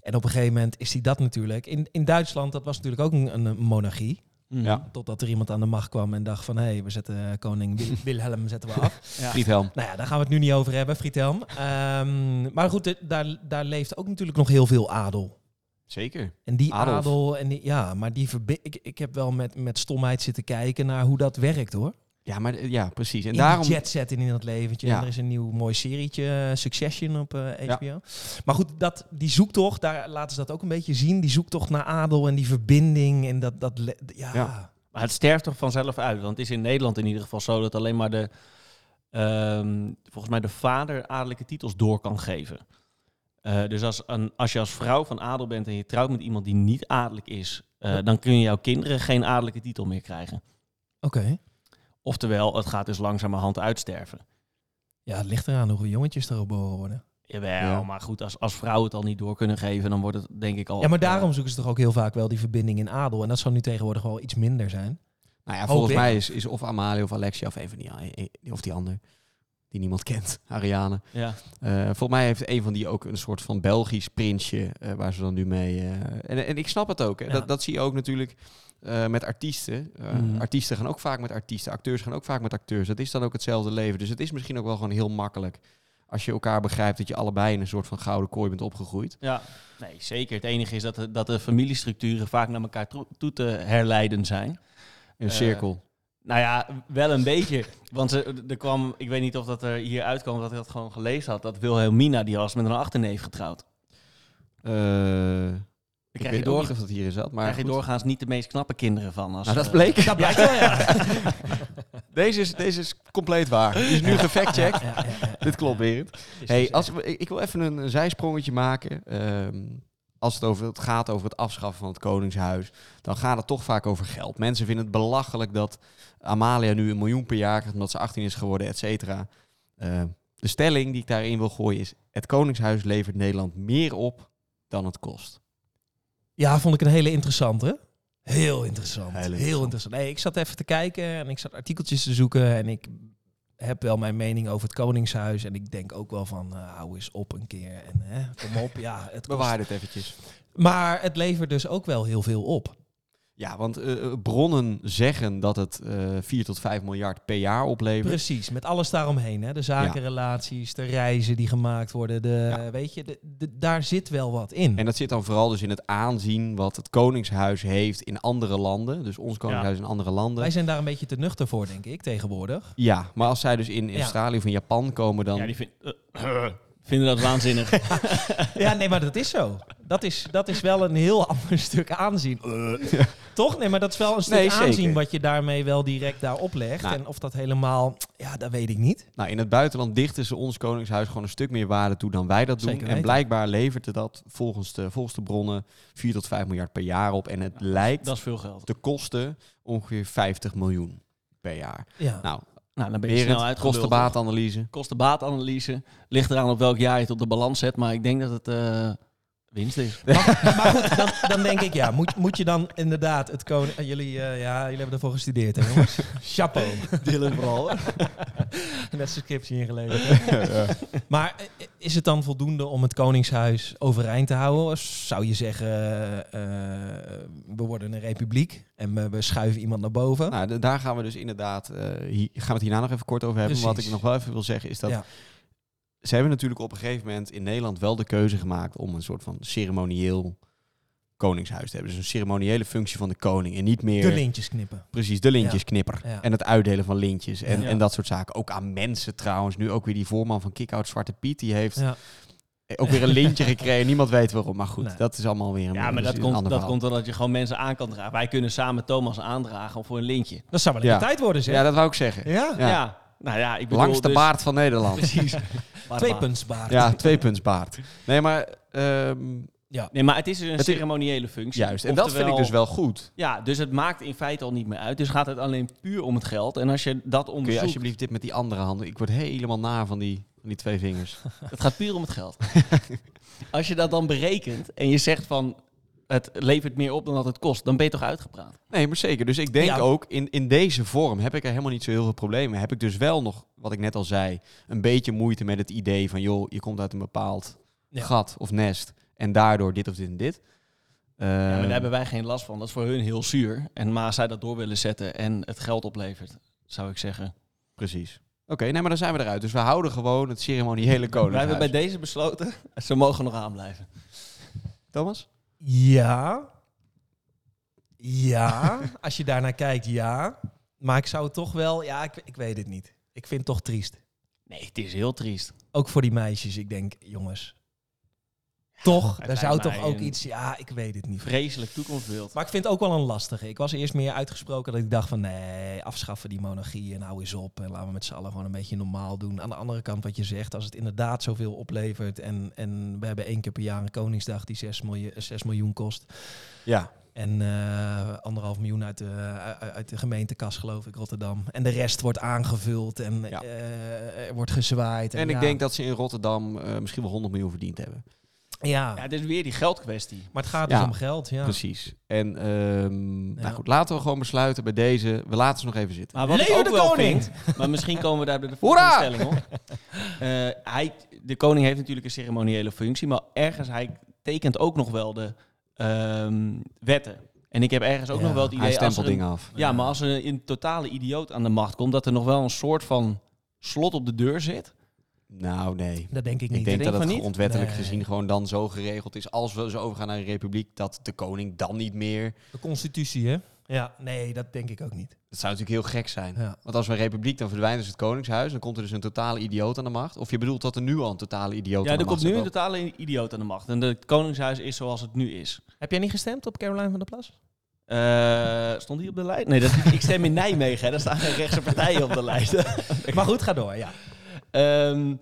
Speaker 3: En op een gegeven moment is hij dat natuurlijk... In, in Duitsland, dat was natuurlijk ook een, een monarchie.
Speaker 2: Ja.
Speaker 3: Totdat er iemand aan de macht kwam en dacht van... hé, hey, we zetten eh, koning Wil- Wilhelm zetten we af.
Speaker 2: Friedhelm.
Speaker 3: nou ja, daar gaan we het nu niet over hebben, Friedhelm. Ehm, maar goed, de- daar, daar leeft ook natuurlijk nog heel veel adel.
Speaker 2: Zeker.
Speaker 3: En die
Speaker 2: Adolf.
Speaker 3: adel, en die, ja, maar die verbi- ik, ik heb wel met, met stomheid zitten kijken naar hoe dat werkt hoor.
Speaker 2: Ja, maar, eh, ja precies. En
Speaker 3: En
Speaker 2: daarom...
Speaker 3: daarom... jet set in dat leventje.
Speaker 2: Ja.
Speaker 3: En er is een nieuw mooi serietje, eh, Succession op eh,
Speaker 2: Ja.
Speaker 3: HBO. Maar goed, dat, die zoektocht, daar laten ze dat ook een beetje zien. Die zoektocht naar adel en die verbinding en dat... dat le- ja.
Speaker 2: Ja.
Speaker 4: Maar het sterft toch vanzelf uit? Want het is in Nederland in ieder geval zo dat alleen maar de... ehm, volgens mij de vader adellijke titels door kan geven. Eh, dus als, een, als je als vrouw van adel bent en je trouwt met iemand die niet adellijk is... eh, dan kun je jouw kinderen geen adellijke titel meer krijgen.
Speaker 3: Oké.
Speaker 4: Oftewel, het gaat dus langzamerhand uitsterven.
Speaker 3: Ja, het ligt eraan hoeveel jongetjes er geboren worden.
Speaker 4: Jawel,
Speaker 2: Ja.
Speaker 4: maar goed, als, als vrouwen het al niet door kunnen geven, dan wordt het denk ik al...
Speaker 3: Ja, maar daarom zoeken ze toch ook heel vaak wel die verbinding in adel. En dat zal nu tegenwoordig wel iets minder zijn.
Speaker 2: Nou ja,
Speaker 3: Hoop
Speaker 2: volgens
Speaker 3: ik.
Speaker 2: mij is, is of Amalie of Alexia of een van die, eh, eh, of die ander die niemand kent, Ariane.
Speaker 4: Ja.
Speaker 2: Eh, volgens mij heeft een van die ook een soort van Belgisch prinsje eh, waar ze dan nu mee. eh, en, en ik snap het ook. Hè.
Speaker 3: Ja.
Speaker 2: Dat, dat zie je ook natuurlijk eh, met artiesten. Eh,
Speaker 4: Mhm.
Speaker 2: Artiesten gaan ook vaak met artiesten, acteurs gaan ook vaak met acteurs. Dat is dan ook hetzelfde leven. Dus het is misschien ook wel gewoon heel makkelijk als je elkaar begrijpt dat je allebei in een soort van gouden kooi bent opgegroeid.
Speaker 4: ja, nee, zeker. Het enige is dat de, dat de familiestructuren vaak naar elkaar toe, toe te herleiden zijn.
Speaker 2: In een
Speaker 4: Eh,
Speaker 2: cirkel.
Speaker 4: Nou ja, wel een beetje. Want ze- er kwam, ik weet niet of dat er hier uitkwam, dat ik dat gewoon gelezen had, dat Wilhelmina, die was met een achterneef getrouwd.
Speaker 2: Eh, Ik
Speaker 4: krijg
Speaker 2: weet
Speaker 4: je ook
Speaker 2: door
Speaker 4: niet-
Speaker 2: of dat hierin zat, maar
Speaker 4: krijg je
Speaker 2: goed.
Speaker 4: doorgaans niet de meest knappe kinderen van. Als,
Speaker 2: Nou, dat
Speaker 4: eh,
Speaker 2: bleek.
Speaker 3: Dat blijkt wel, ja.
Speaker 2: Deze is, deze is compleet waar. Die is nu gefactcheckt. Dit klopt, Berend. Hey, als, we- ik ik wil even een, een zijsprongetje maken. Ehm, als het, over, het gaat over het afschaffen van het Koningshuis, dan gaat het toch vaak over geld. Mensen vinden het belachelijk dat Amalia nu een miljoen per jaar krijgt omdat ze 18 is geworden, et cetera. Ehm, de stelling die ik daarin wil gooien is: het Koningshuis levert Nederland meer op dan het kost.
Speaker 3: Ja, vond ik een hele interessante. Heel interessant.
Speaker 2: Heel
Speaker 3: Heel,
Speaker 2: interessant.
Speaker 3: interessant. Nee, ik zat even te kijken en ik zat artikeltjes te zoeken. En ik heb wel mijn mening over het Koningshuis. En ik denk ook wel van, eh, hou eens op een keer. En hè, kom op, ja. Het kost-
Speaker 2: Bewaar dit eventjes.
Speaker 3: Maar het levert dus ook wel heel veel op.
Speaker 2: Ja, want eh, bronnen zeggen dat het eh 4 tot 5 miljard per jaar oplevert.
Speaker 3: Precies, met alles daaromheen. Hè? De zakenrelaties, de reizen die gemaakt worden. De, Weet je, de, de- daar zit wel wat in.
Speaker 2: En dat zit dan vooral dus in het aanzien wat het Koningshuis heeft in andere landen. Dus ons Koningshuis in andere landen.
Speaker 3: Wij zijn daar een beetje te nuchter voor, denk ik, tegenwoordig.
Speaker 2: Ja, maar als zij dus in
Speaker 3: Ja.
Speaker 2: Australië of in Japan komen, dan...
Speaker 4: Ja, die vind- eh, vinden dat waanzinnig.
Speaker 3: Ja, nee, maar dat is zo. Dat is, dat is wel een heel ander stuk aanzien. Eh, Toch? Nee, maar dat is wel een stuk
Speaker 2: Nee, zeker.
Speaker 3: aanzien wat je daarmee wel direct daar oplegt.
Speaker 2: Nou.
Speaker 3: En of dat helemaal, ja, dat weet ik niet.
Speaker 2: Nou, in het buitenland dichten ze ons Koningshuis gewoon een stuk meer waarde toe dan wij dat doen.
Speaker 3: Zeker
Speaker 2: En
Speaker 3: weten.
Speaker 2: blijkbaar levert dat volgens de, volgens de bronnen 4 tot 5 miljard per jaar op. En het lijkt
Speaker 4: dat is veel geld.
Speaker 2: te kosten ongeveer 50 miljoen per jaar.
Speaker 3: Ja.
Speaker 2: Nou,
Speaker 4: Nou, dan ben je snel
Speaker 2: weer
Speaker 4: uitgeluld.
Speaker 2: kostenbaatanalyse.
Speaker 4: Kostenbaatanalyse. Ligt eraan op welk jaar je het op de balans zet. Maar ik denk dat het eh, winst is.
Speaker 3: Maar, maar goed, dan, dan denk ik, ja, moet, moet je dan inderdaad het koning... eh, jullie, eh, ja, jullie hebben ervoor gestudeerd, hè, jongens? Chapeau. Dylan vooral. Net zijn scriptie ingeleverd. hè? Maar eh, is het dan voldoende om het Koningshuis overeind te houden? Of Zou je zeggen, eh, we worden een republiek en we, we schuiven iemand naar boven?
Speaker 2: Nou, d- daar gaan we dus inderdaad, eh, hier, gaan we het hierna nog even kort over hebben. Maar Wat ik
Speaker 3: Precies.
Speaker 2: nog wel even wil zeggen is dat
Speaker 3: Ja.
Speaker 2: ze hebben natuurlijk op een gegeven moment in Nederland wel de keuze gemaakt om een soort van ceremonieel koningshuis te hebben. Dus een ceremoniële functie van de koning en niet meer
Speaker 3: de lintjes knippen.
Speaker 2: precies de lintjesknipper
Speaker 3: Ja. Ja.
Speaker 2: en het uitdelen van lintjes en,
Speaker 4: Ja.
Speaker 2: en dat soort zaken. Ook aan mensen trouwens. Nu ook weer die voorman van Kick-Out Zwarte Piet, die heeft
Speaker 3: Ja.
Speaker 2: eh, ook weer een lintje gekregen. Niemand weet waarom, maar goed,
Speaker 3: Nee.
Speaker 2: dat is allemaal weer een,
Speaker 4: Ja, maar
Speaker 2: dus
Speaker 4: dat
Speaker 2: een ander
Speaker 4: komt, dat
Speaker 2: verhaal.
Speaker 4: komt omdat je gewoon mensen aan kan dragen. Wij kunnen samen Thomas aandragen voor een lintje.
Speaker 3: Dat zou wel een
Speaker 2: Ja.
Speaker 3: tijd worden, zeg.
Speaker 2: Ja, dat wou ik zeggen.
Speaker 3: Ja.
Speaker 2: Ja.
Speaker 4: Ja. Nou ja, ik bedoel
Speaker 2: Langste
Speaker 4: dus-
Speaker 2: baard van Nederland.
Speaker 4: Precies.
Speaker 3: Twee puntsbaard.
Speaker 2: Ja, tweepuntsbaard. Nee, maar ehm,
Speaker 4: Nee, maar het is dus een
Speaker 2: Het is-
Speaker 4: ceremoniële functie.
Speaker 2: juist. En dat vind ik
Speaker 4: Oftewel-
Speaker 2: dus wel goed.
Speaker 4: Ja, dus het maakt in feite al niet meer uit. Dus gaat het alleen puur om het geld. En als je dat
Speaker 2: Kun je
Speaker 4: onderzoekt,
Speaker 2: alsjeblieft dit met die andere handen... Ik word helemaal na van die, van die twee vingers.
Speaker 4: het gaat puur om het geld. als je dat dan berekent en je zegt van het levert meer op dan dat het kost, dan ben je toch uitgepraat.
Speaker 2: Nee, maar zeker. Dus ik denk
Speaker 3: Ja.
Speaker 2: ook, in, in deze vorm heb ik er helemaal niet zo heel veel problemen. mee. Heb ik dus wel nog, wat ik net al zei, een beetje moeite met het idee van... joh, je komt uit een bepaald
Speaker 3: Ja.
Speaker 2: gat of nest en daardoor dit of dit en dit.
Speaker 4: Ja, maar
Speaker 2: Ehm,
Speaker 4: daar hebben wij geen last van. Dat is voor hun heel zuur. En maar als zij dat door willen zetten en het geld oplevert, zou ik zeggen.
Speaker 2: Precies. Oké, nee, maar dan zijn we eruit. Dus we houden gewoon het ceremoniële koning.
Speaker 4: Wij hebben bij deze besloten, ze mogen nog aanblijven.
Speaker 2: Thomas?
Speaker 3: Ja. Ja. Als je daarnaar kijkt, ja. Maar ik zou toch wel... Ja, ik, ik weet het niet. Ik vind het toch triest.
Speaker 4: Nee, het is heel triest.
Speaker 3: Ook voor die meisjes. Ik denk, jongens. Toch?
Speaker 4: het
Speaker 3: Daar
Speaker 4: lijkt
Speaker 3: zou toch
Speaker 4: mij
Speaker 3: ook
Speaker 4: een-
Speaker 3: iets... Ja, ik weet het niet.
Speaker 4: Vreselijk toekomstbeeld.
Speaker 3: Maar ik vind het ook wel een lastige. Ik was eerst meer uitgesproken dat ik dacht van... Nee, afschaffen die monarchie en hou eens op. En laten we met z'n allen gewoon een beetje normaal doen. Aan de andere kant wat je zegt. Als het inderdaad zoveel oplevert... en, en we hebben één keer per jaar een Koningsdag die 6 miljoen, 6 miljoen kost...
Speaker 2: Ja.
Speaker 3: En eh, anderhalf miljoen uit de, u- uit de gemeentekas, geloof ik, Rotterdam. En de rest wordt aangevuld en
Speaker 2: Ja.
Speaker 3: eh, er wordt gezwaaid.
Speaker 2: En, ik
Speaker 3: ja.
Speaker 2: denk dat ze in Rotterdam eh, misschien wel 100 miljoen verdiend hebben.
Speaker 3: Ja.
Speaker 4: Ja, het is weer die geldkwestie.
Speaker 3: maar het gaat dus
Speaker 2: Ja.
Speaker 3: om geld, ja.
Speaker 2: Precies. En ehm,
Speaker 3: Ja.
Speaker 2: nou goed, laten we gewoon besluiten bij deze. We laten ze nog even zitten.
Speaker 4: Maar wat
Speaker 3: Leve
Speaker 4: ik ook
Speaker 3: de
Speaker 4: wel
Speaker 3: koning!
Speaker 4: vind, maar misschien komen we daar bij de
Speaker 2: Hoera!
Speaker 4: volgende stelling hoor. Eh, hij, de koning heeft natuurlijk een ceremoniële functie, maar ergens hij tekent ook nog wel de ehm, wetten. En ik heb ergens ook
Speaker 3: Ja,
Speaker 4: nog wel het idee...
Speaker 2: Hij
Speaker 4: als
Speaker 2: stempelt
Speaker 4: er een-
Speaker 2: dingen af.
Speaker 4: Ja, maar als er een totale idioot aan de macht komt, dat er nog wel een soort van slot op de deur zit.
Speaker 2: Nou, nee.
Speaker 3: Dat denk ik
Speaker 2: Ik
Speaker 3: niet.
Speaker 2: denk dat
Speaker 4: van
Speaker 2: het
Speaker 4: niet?
Speaker 2: grondwettelijk
Speaker 3: Nee.
Speaker 2: gezien gewoon dan zo geregeld is. Als we zo overgaan naar een republiek, dat de koning dan niet meer.
Speaker 3: De constitutie, hè? Ja, nee, dat denk ik ook niet.
Speaker 2: Dat zou natuurlijk heel gek zijn.
Speaker 3: Ja.
Speaker 2: Want als we een republiek, dan verdwijnt dus het koningshuis. Dan komt er dus een totale idioot aan de macht. Of je bedoelt dat er nu al een totale idioot
Speaker 4: Ja,
Speaker 2: aan de
Speaker 4: er komt
Speaker 2: macht
Speaker 4: nu een
Speaker 2: zit.
Speaker 4: totale idioot aan de macht. En het Koningshuis is zoals het nu is.
Speaker 3: Heb jij niet gestemd op Caroline van der Plas?
Speaker 4: Eh, stond hij op de lijst? Nee, dat, ik stem in Nijmegen. hè. Daar staan geen rechtse partijen op de lijst.
Speaker 3: Maar goed, ga door, ja.
Speaker 4: Ehm,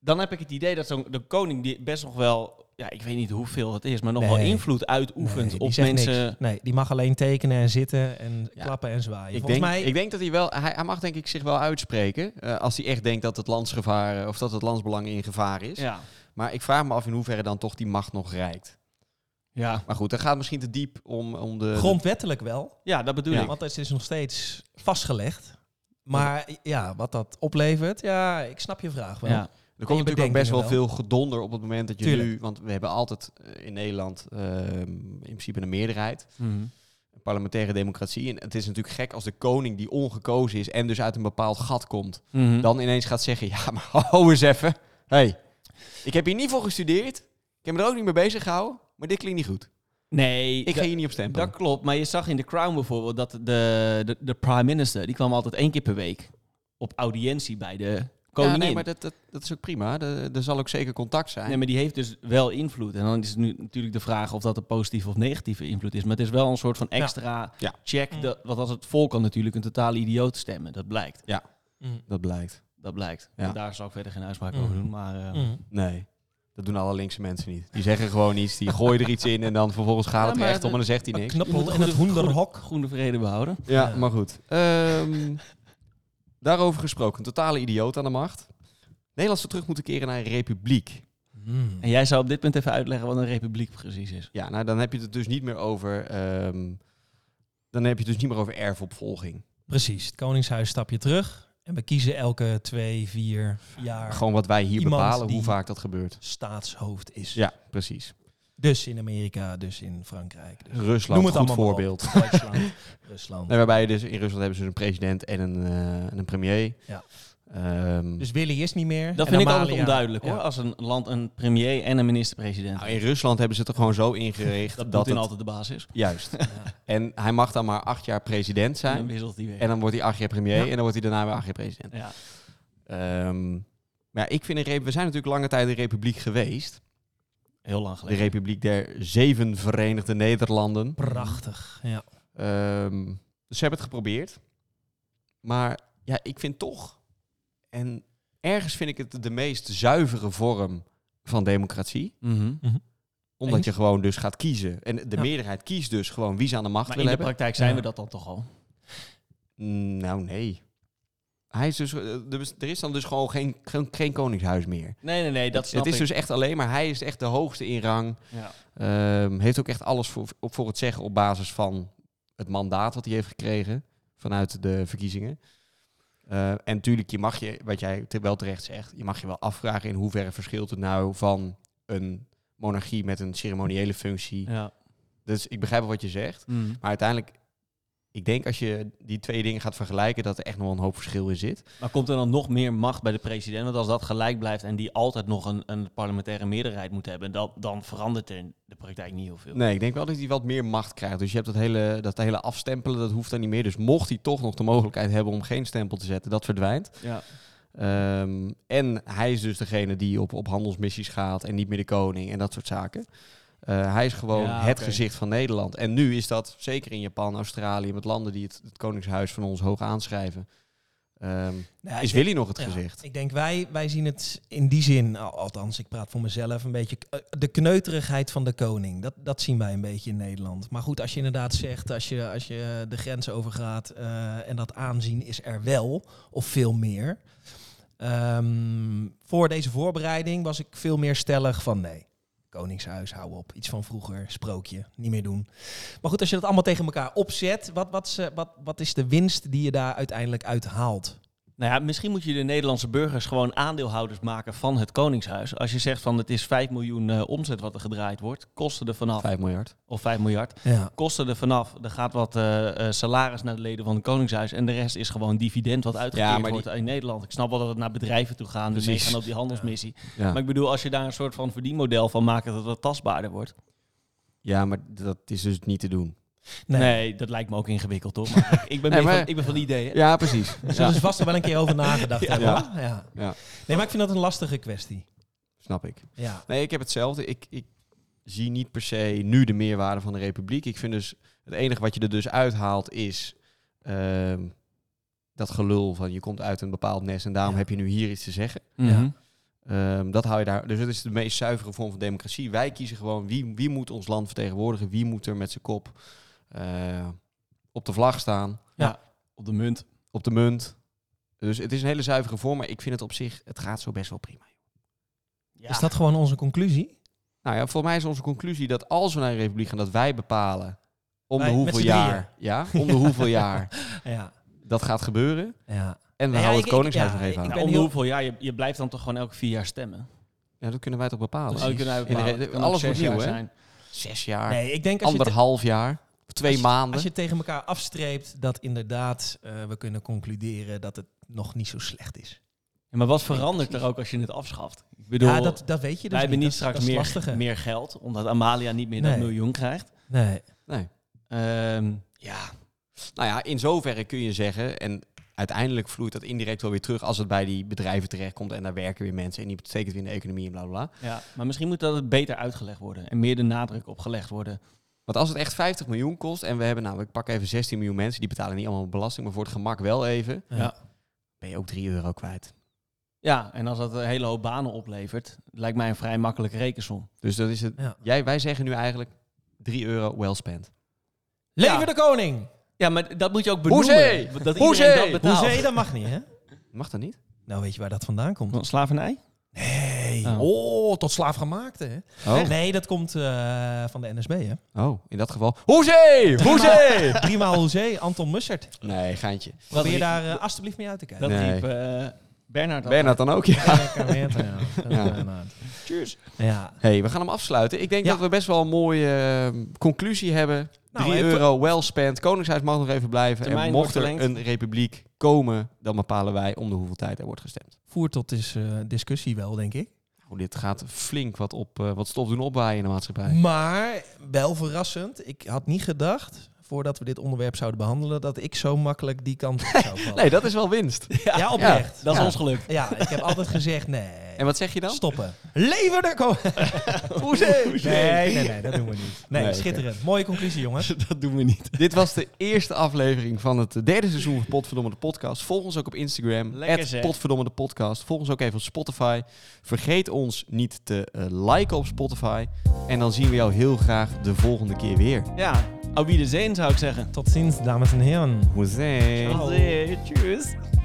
Speaker 4: dan heb ik het idee dat zo'n de koning die best nog wel, ja, ik weet niet hoeveel het is, maar nog wel
Speaker 3: Nee.
Speaker 4: invloed uitoefent
Speaker 3: Nee, die
Speaker 4: op
Speaker 3: zegt
Speaker 4: mensen.
Speaker 3: niks. Nee, die mag alleen tekenen en zitten en
Speaker 2: Ja.
Speaker 3: klappen en zwaaien.
Speaker 2: Ik
Speaker 3: Volgens
Speaker 2: denk,
Speaker 3: mij...
Speaker 2: ik denk dat hij wel, hij, hij mag denk ik zich wel uitspreken. eh, als hij echt denkt dat het landsgevaar eh, of dat het landsbelang in gevaar is.
Speaker 4: Ja.
Speaker 2: Maar ik vraag me af in hoeverre dan toch die macht nog reikt.
Speaker 4: Ja.
Speaker 2: Maar goed, dat gaat misschien te diep om, om de.
Speaker 3: Grondwettelijk wel,
Speaker 4: ja, dat bedoel
Speaker 2: Ja.
Speaker 4: ik.
Speaker 3: want het is nog steeds vastgelegd. Maar ja, wat dat oplevert, ja, ik snap je vraag wel.
Speaker 2: Er
Speaker 4: Ja.
Speaker 3: En
Speaker 2: komt
Speaker 3: je
Speaker 2: natuurlijk ook
Speaker 3: bedenkingen
Speaker 2: best wel,
Speaker 3: wel.
Speaker 2: veel gedonder op het moment dat je
Speaker 3: Tuurlijk.
Speaker 2: nu... Want we hebben altijd eh, in Nederland ehm, in principe een meerderheid.
Speaker 4: Mhm.
Speaker 2: Een parlementaire democratie. En het is natuurlijk gek als de koning die ongekozen is... en dus uit een bepaald gat komt...
Speaker 4: Mhm.
Speaker 2: dan ineens gaat zeggen... Ja, maar hou eens even. hey, ik heb hier niet voor gestudeerd. Ik heb me er ook niet mee bezig gehouden. Maar dit klinkt niet goed.
Speaker 4: nee,
Speaker 2: Ik ga
Speaker 4: da-
Speaker 2: hier niet op stemmen.
Speaker 4: dat klopt. Maar je zag in The Crown bijvoorbeeld dat de, de, de prime minister, die kwam altijd één keer per week op audiëntie bij de koningin.
Speaker 2: Ja, nee, maar dat, dat, dat is ook prima. Er er zal ook zeker contact zijn.
Speaker 4: Nee, maar die heeft dus wel invloed. En dan is het nu natuurlijk de vraag of dat een positieve of negatieve invloed is. Maar het is wel een soort van extra
Speaker 2: Ja.
Speaker 3: Mm.
Speaker 4: check. Dat, want als het volk kan natuurlijk een totale idioot stemmen. Dat blijkt.
Speaker 3: Mm.
Speaker 2: Dat blijkt.
Speaker 4: Dat blijkt.
Speaker 2: Ja.
Speaker 4: En Daar zal ik verder geen uitspraak
Speaker 3: Mm.
Speaker 4: over doen. Maar eh,
Speaker 3: Mm.
Speaker 2: Nee. Dat doen alle linkse mensen niet. Die zeggen gewoon iets, die gooien er iets in en dan vervolgens gaat
Speaker 4: Ja,
Speaker 2: het
Speaker 4: maar
Speaker 2: recht om
Speaker 4: dat-
Speaker 2: en dan zegt hij
Speaker 3: Een
Speaker 2: niks.
Speaker 4: je moet
Speaker 3: knuppel in
Speaker 4: goede-
Speaker 3: het hoenderhok.
Speaker 4: groene vrede behouden.
Speaker 2: Ja,
Speaker 3: Ja.
Speaker 2: maar goed. Ehm, daarover gesproken, een totale idioot aan de macht. Nederland zou terug moeten keren naar een republiek.
Speaker 3: Mm.
Speaker 4: En jij zou op dit punt even uitleggen wat een republiek precies is.
Speaker 2: Ja, nou dan heb je het dus niet meer over. ehm, dan heb je het dus niet meer over erfopvolging.
Speaker 3: Precies, het Koningshuis stap je terug. En we kiezen elke twee, vier jaar
Speaker 2: Gewoon wat wij hier
Speaker 3: Iemand
Speaker 2: bepalen,
Speaker 3: die-
Speaker 2: hoe vaak dat gebeurt.
Speaker 3: staatshoofd is.
Speaker 2: Ja, precies.
Speaker 3: Dus in Amerika, dus in Frankrijk. Dus
Speaker 2: Rusland,
Speaker 3: Noem het
Speaker 2: goed
Speaker 3: allemaal maar op.
Speaker 2: voorbeeld.
Speaker 3: Duitsland, Rusland.
Speaker 2: En waarbij je dus in Rusland hebben ze een president en een, eh, en een premier.
Speaker 3: Ja.
Speaker 2: Ehm,
Speaker 3: Dus Willy is niet meer.
Speaker 4: Dat
Speaker 3: En
Speaker 4: vind ik
Speaker 3: Amalia.
Speaker 4: altijd onduidelijk
Speaker 3: Ja.
Speaker 4: hoor. Als een land een premier en een minister-president.
Speaker 2: nou, in Rusland hebben ze het er gewoon zo ingericht
Speaker 4: dat
Speaker 2: dat,
Speaker 4: Poetin
Speaker 2: het-
Speaker 4: altijd de baas is.
Speaker 2: Juist.
Speaker 3: Ja.
Speaker 2: En hij mag dan maar acht jaar president
Speaker 4: En dan
Speaker 2: zijn.
Speaker 4: wisselt hij weer.
Speaker 2: En dan wordt hij acht jaar premier.
Speaker 3: Ja.
Speaker 2: En dan wordt hij daarna weer acht jaar president.
Speaker 4: ja.
Speaker 2: Ehm, maar ik vind een rep- we zijn natuurlijk lange tijd een republiek geweest.
Speaker 4: Heel lang
Speaker 2: De
Speaker 4: geleden.
Speaker 2: Republiek der Zeven Verenigde Nederlanden.
Speaker 3: Prachtig. Ja.
Speaker 2: Ehm, dus ze hebben het geprobeerd. Maar ja, ik vind toch. En ergens vind ik het de meest zuivere vorm van democratie.
Speaker 4: Mhm.
Speaker 2: Omdat
Speaker 3: Eens?
Speaker 2: je gewoon dus gaat kiezen. En de
Speaker 3: Ja.
Speaker 2: meerderheid kiest dus gewoon wie ze aan de macht
Speaker 4: Maar in
Speaker 2: willen
Speaker 4: de
Speaker 2: hebben.
Speaker 4: praktijk zijn
Speaker 3: Ja.
Speaker 4: we dat dan toch al.
Speaker 2: Mm, Nou, nee. Hij is dus, eh, er is- er is dan dus gewoon geen, geen, geen koningshuis meer.
Speaker 4: Nee, nee, nee. Dat snap
Speaker 2: het is
Speaker 4: ik.
Speaker 2: dus echt alleen maar, hij is echt de hoogste in rang.
Speaker 4: Ja.
Speaker 2: Ehm, heeft ook echt alles voor, op voor het zeggen op basis van het mandaat wat hij heeft gekregen vanuit de verkiezingen. Eh, en natuurlijk, je mag je, wat jij te- wel terecht zegt, je mag je wel afvragen in hoeverre verschilt het nou van een monarchie met een ceremoniële functie.
Speaker 4: Ja. Mhm.
Speaker 2: Dus ik begrijp wel wat je zegt. Maar uiteindelijk, ik denk als je die twee dingen gaat vergelijken, dat er echt nog wel een hoop verschil in zit.
Speaker 4: Maar komt er dan nog meer macht bij de president? Want als dat gelijk blijft en die altijd nog een, een parlementaire meerderheid moet hebben, dat, dan verandert er in de praktijk niet heel veel.
Speaker 2: Nee, ik denk wel dat hij wat meer macht krijgt. Dus je hebt dat hele, dat hele afstempelen, dat hoeft dan niet meer. Dus mocht hij toch nog de mogelijkheid hebben om geen stempel te zetten, dat verdwijnt.
Speaker 4: Ja.
Speaker 2: Ehm, en hij is dus degene die op, op handelsmissies gaat en niet meer de koning en dat soort zaken. Eh, hij is gewoon
Speaker 4: Ja,
Speaker 2: het
Speaker 4: oké.
Speaker 2: gezicht van Nederland. En nu is dat, zeker in Japan, Australië, met landen die het, het koningshuis van ons hoog aanschrijven, ehm,
Speaker 3: Nou,
Speaker 2: is
Speaker 3: ik denk-
Speaker 2: Willy nog het
Speaker 3: ja,
Speaker 2: gezicht.
Speaker 3: Ik denk wij, wij zien het in die zin, al- althans ik praat voor mezelf, een beetje eh, de kneuterigheid van de koning. Dat, dat zien wij een beetje in Nederland. Maar goed, als je inderdaad zegt, als je, als je de grens overgaat eh, en dat aanzien is er wel, of veel meer. Ehm, voor deze voorbereiding was ik veel meer stellig van nee. Koningshuis, hou op. Iets van vroeger, sprookje, niet meer doen. Maar goed, als je dat allemaal tegen elkaar opzet, wat, wat, ze- wat, wat is de winst die je daar uiteindelijk uit haalt?
Speaker 4: Nou ja, misschien moet je de Nederlandse burgers gewoon aandeelhouders maken van het Koningshuis. Als je zegt van het is 5 miljoen eh, omzet wat er gedraaid wordt, kosten er vanaf,
Speaker 2: 5 miljard.
Speaker 4: of 5 miljard,
Speaker 3: Ja.
Speaker 4: kosten er vanaf, er gaat wat eh, eh, salaris naar de leden van het Koningshuis en de rest is gewoon dividend wat uitgekeerd
Speaker 2: Ja, maar die-
Speaker 4: wordt in Nederland. Ik snap wel dat het naar bedrijven toe gaat, dus
Speaker 2: Precies.
Speaker 4: mee gaan op die handelsmissie.
Speaker 2: Ja.
Speaker 4: Maar ik bedoel, als je daar een soort van verdienmodel van maakt dat het wat tastbaarder wordt.
Speaker 2: Ja, maar dat is dus niet te doen.
Speaker 3: Nee.
Speaker 4: Nee. dat lijkt me ook ingewikkeld, toch? Maar ik- ik, ben
Speaker 2: Nee,
Speaker 4: meer
Speaker 2: maar-
Speaker 4: van, ik ben van die ideeën.
Speaker 2: Ja, precies.
Speaker 3: Zullen
Speaker 2: Ja,
Speaker 3: ze vast er wel een keer over nagedacht hebben.
Speaker 2: Ja.
Speaker 3: hoor. Ja.
Speaker 2: Ja.
Speaker 3: Nee, maar ik vind dat een lastige kwestie.
Speaker 2: snap ik.
Speaker 3: Ja.
Speaker 2: Nee, ik heb hetzelfde. Ik, ik zie niet per se nu de meerwaarde van de republiek. Ik vind dus het enige wat je er dus uithaalt is ehm, dat gelul van je komt uit een bepaald nest en daarom
Speaker 3: Ja.
Speaker 2: heb je nu hier iets te zeggen.
Speaker 4: Mhm.
Speaker 2: Ehm, dat hou je daar. Dus het is de meest zuivere vorm van democratie. Wij kiezen gewoon wie, wie moet ons land vertegenwoordigen, wie moet er met zijn kop eh, op de vlag staan,
Speaker 4: Op de munt.
Speaker 2: op de munt. Dus het is een hele zuivere vorm, maar ik vind het op zich, het gaat zo best wel prima.
Speaker 3: Is dat gewoon onze conclusie?
Speaker 2: Nou ja, voor mij is onze conclusie dat als we naar een republiek gaan, dat wij bepalen om
Speaker 3: Wij,
Speaker 2: de
Speaker 3: met
Speaker 2: hoeveel
Speaker 3: z'n drieën.
Speaker 2: jaar, ja, om de hoeveel jaar
Speaker 3: Ja.
Speaker 2: dat gaat gebeuren.
Speaker 3: ja.
Speaker 2: En we
Speaker 3: Nou Ja,
Speaker 2: houden
Speaker 3: ik-
Speaker 2: het
Speaker 3: ik-
Speaker 2: koningshuis
Speaker 3: ja,
Speaker 2: nog even
Speaker 3: ik-
Speaker 2: aan.
Speaker 3: ben
Speaker 4: om de
Speaker 3: heel-
Speaker 4: hoeveel jaar? Je, je blijft dan toch gewoon elke vier jaar stemmen?
Speaker 2: Ja, dat kunnen wij toch bepalen.
Speaker 4: Oh, je kunt
Speaker 2: In de
Speaker 4: eigenlijk
Speaker 2: re-
Speaker 4: bepalen. Kan ook
Speaker 2: alles
Speaker 4: zes
Speaker 2: wordt nieuw,
Speaker 4: jaar
Speaker 2: hè?
Speaker 4: zijn.
Speaker 2: Zes jaar,
Speaker 3: Nee, ik denk als je, te-
Speaker 2: anderhalf jaar, of twee
Speaker 3: als je-
Speaker 2: maanden.
Speaker 3: als je tegen elkaar afstreept dat inderdaad eh, we kunnen concluderen dat het nog niet zo slecht is.
Speaker 4: Ja, maar wat verandert er ook als je het afschaft? Ik bedoel,
Speaker 3: ja, dat, dat weet je dus
Speaker 4: wij hebben
Speaker 3: niet
Speaker 4: niet
Speaker 3: Dat is-
Speaker 4: straks
Speaker 3: dat is
Speaker 4: meer,
Speaker 3: lastige.
Speaker 4: meer geld, omdat Amalia niet meer dat
Speaker 3: Nee.
Speaker 4: miljoen krijgt.
Speaker 3: Nee.
Speaker 2: Nee.
Speaker 4: Ehm, ja,
Speaker 2: Nou ja, in zoverre kun je zeggen, en uiteindelijk vloeit dat indirect wel weer terug als het bij die bedrijven terechtkomt en daar werken weer mensen en die betekent weer in de economie en bla bla bla.
Speaker 4: ja, maar misschien moet dat beter uitgelegd worden en meer de nadruk op gelegd worden.
Speaker 2: Want als het echt 50 miljoen kost en we hebben namelijk, pak even 16 miljoen mensen, die betalen niet allemaal belasting, maar voor het gemak wel even,
Speaker 3: Ja.
Speaker 4: Ja.
Speaker 2: ben je ook 3 euro kwijt.
Speaker 4: Ja, en als dat een hele hoop banen oplevert, lijkt mij een vrij makkelijke rekensom.
Speaker 2: Dus dat is het.
Speaker 3: Ja.
Speaker 2: Jij, wij zeggen nu eigenlijk 3 euro well spent.
Speaker 3: Leven
Speaker 4: Ja.
Speaker 3: de koning!
Speaker 4: Ja, maar dat moet je ook benoemen.
Speaker 2: Hoezee!
Speaker 4: Dat
Speaker 2: Hoezee!
Speaker 4: iedereen dat betaalt.
Speaker 3: Hoezee, dat mag niet, hè?
Speaker 2: Mag dat niet?
Speaker 3: Nou, weet je waar dat vandaan komt?
Speaker 4: Van Slavernij?
Speaker 3: Nee.
Speaker 4: Oh.
Speaker 3: Oh, tot slaafgemaakte, hè?
Speaker 2: Oh,
Speaker 3: Nee, dat komt eh, van de NSB, hè?
Speaker 2: oh in dat geval. Hoezee! Hoezee!
Speaker 3: Driemaal hoezee, Anton Mussert.
Speaker 2: Nee, geintje.
Speaker 3: Probeer
Speaker 4: riep-
Speaker 3: daar eh, alsjeblieft mee uit te kijken.
Speaker 4: Dat
Speaker 2: Nee.
Speaker 4: riep eh, Bernard al.
Speaker 2: Bernard dan ook, ja.
Speaker 3: Ja, kan weer, ja. Dat is
Speaker 2: Ja.
Speaker 3: inderdaad.
Speaker 2: Cheers.
Speaker 3: Ja.
Speaker 2: hey, we gaan hem afsluiten. Ik denk
Speaker 3: Ja.
Speaker 2: dat we best wel een mooie eh, conclusie hebben.
Speaker 3: Nou,
Speaker 2: 3
Speaker 3: even-
Speaker 2: euro well spent. Koningshuis mag nog even blijven.
Speaker 4: Termijn
Speaker 2: en mocht
Speaker 4: wordt
Speaker 2: er
Speaker 4: verlengd.
Speaker 2: een republiek komen, dan bepalen wij om de hoeveel tijd er wordt gestemd.
Speaker 3: Voer tot is, eh, discussie wel, denk ik.
Speaker 2: Nou, dit gaat flink wat, op, eh, wat stof doen opwaaien in de maatschappij.
Speaker 3: Maar wel verrassend. Ik had niet gedacht, voordat we dit onderwerp zouden behandelen, dat ik zo makkelijk die kant op zou vallen.
Speaker 2: Nee, dat is wel winst.
Speaker 3: Ja, oprecht.
Speaker 4: Dat is
Speaker 2: Ja.
Speaker 4: ons gelukt.
Speaker 3: Ja, ik heb altijd gezegd, nee,
Speaker 2: En wat zeg je dan?
Speaker 3: stoppen. Leven de koning!
Speaker 2: Hoezee!
Speaker 3: Nee, nee, nee, dat doen we niet. Nee,
Speaker 2: Nee, oké.
Speaker 3: schitterend. Mooie conclusie, jongens.
Speaker 4: dat doen we niet.
Speaker 2: Dit was de eerste aflevering van het derde seizoen van Potverdomme de Podcast. Volg ons ook op Instagram,
Speaker 4: Lekker
Speaker 2: at
Speaker 4: zeg.
Speaker 2: Potverdomme de Podcast. Volg ons ook even op Spotify. Vergeet ons niet te eh, liken op Spotify. En dan zien we jou heel graag de volgende keer weer.
Speaker 4: Ja, au wie de zeen zou ik zeggen.
Speaker 3: Tot ziens, dames en heren.
Speaker 2: Hoezee!
Speaker 4: Au revoir. Tjus.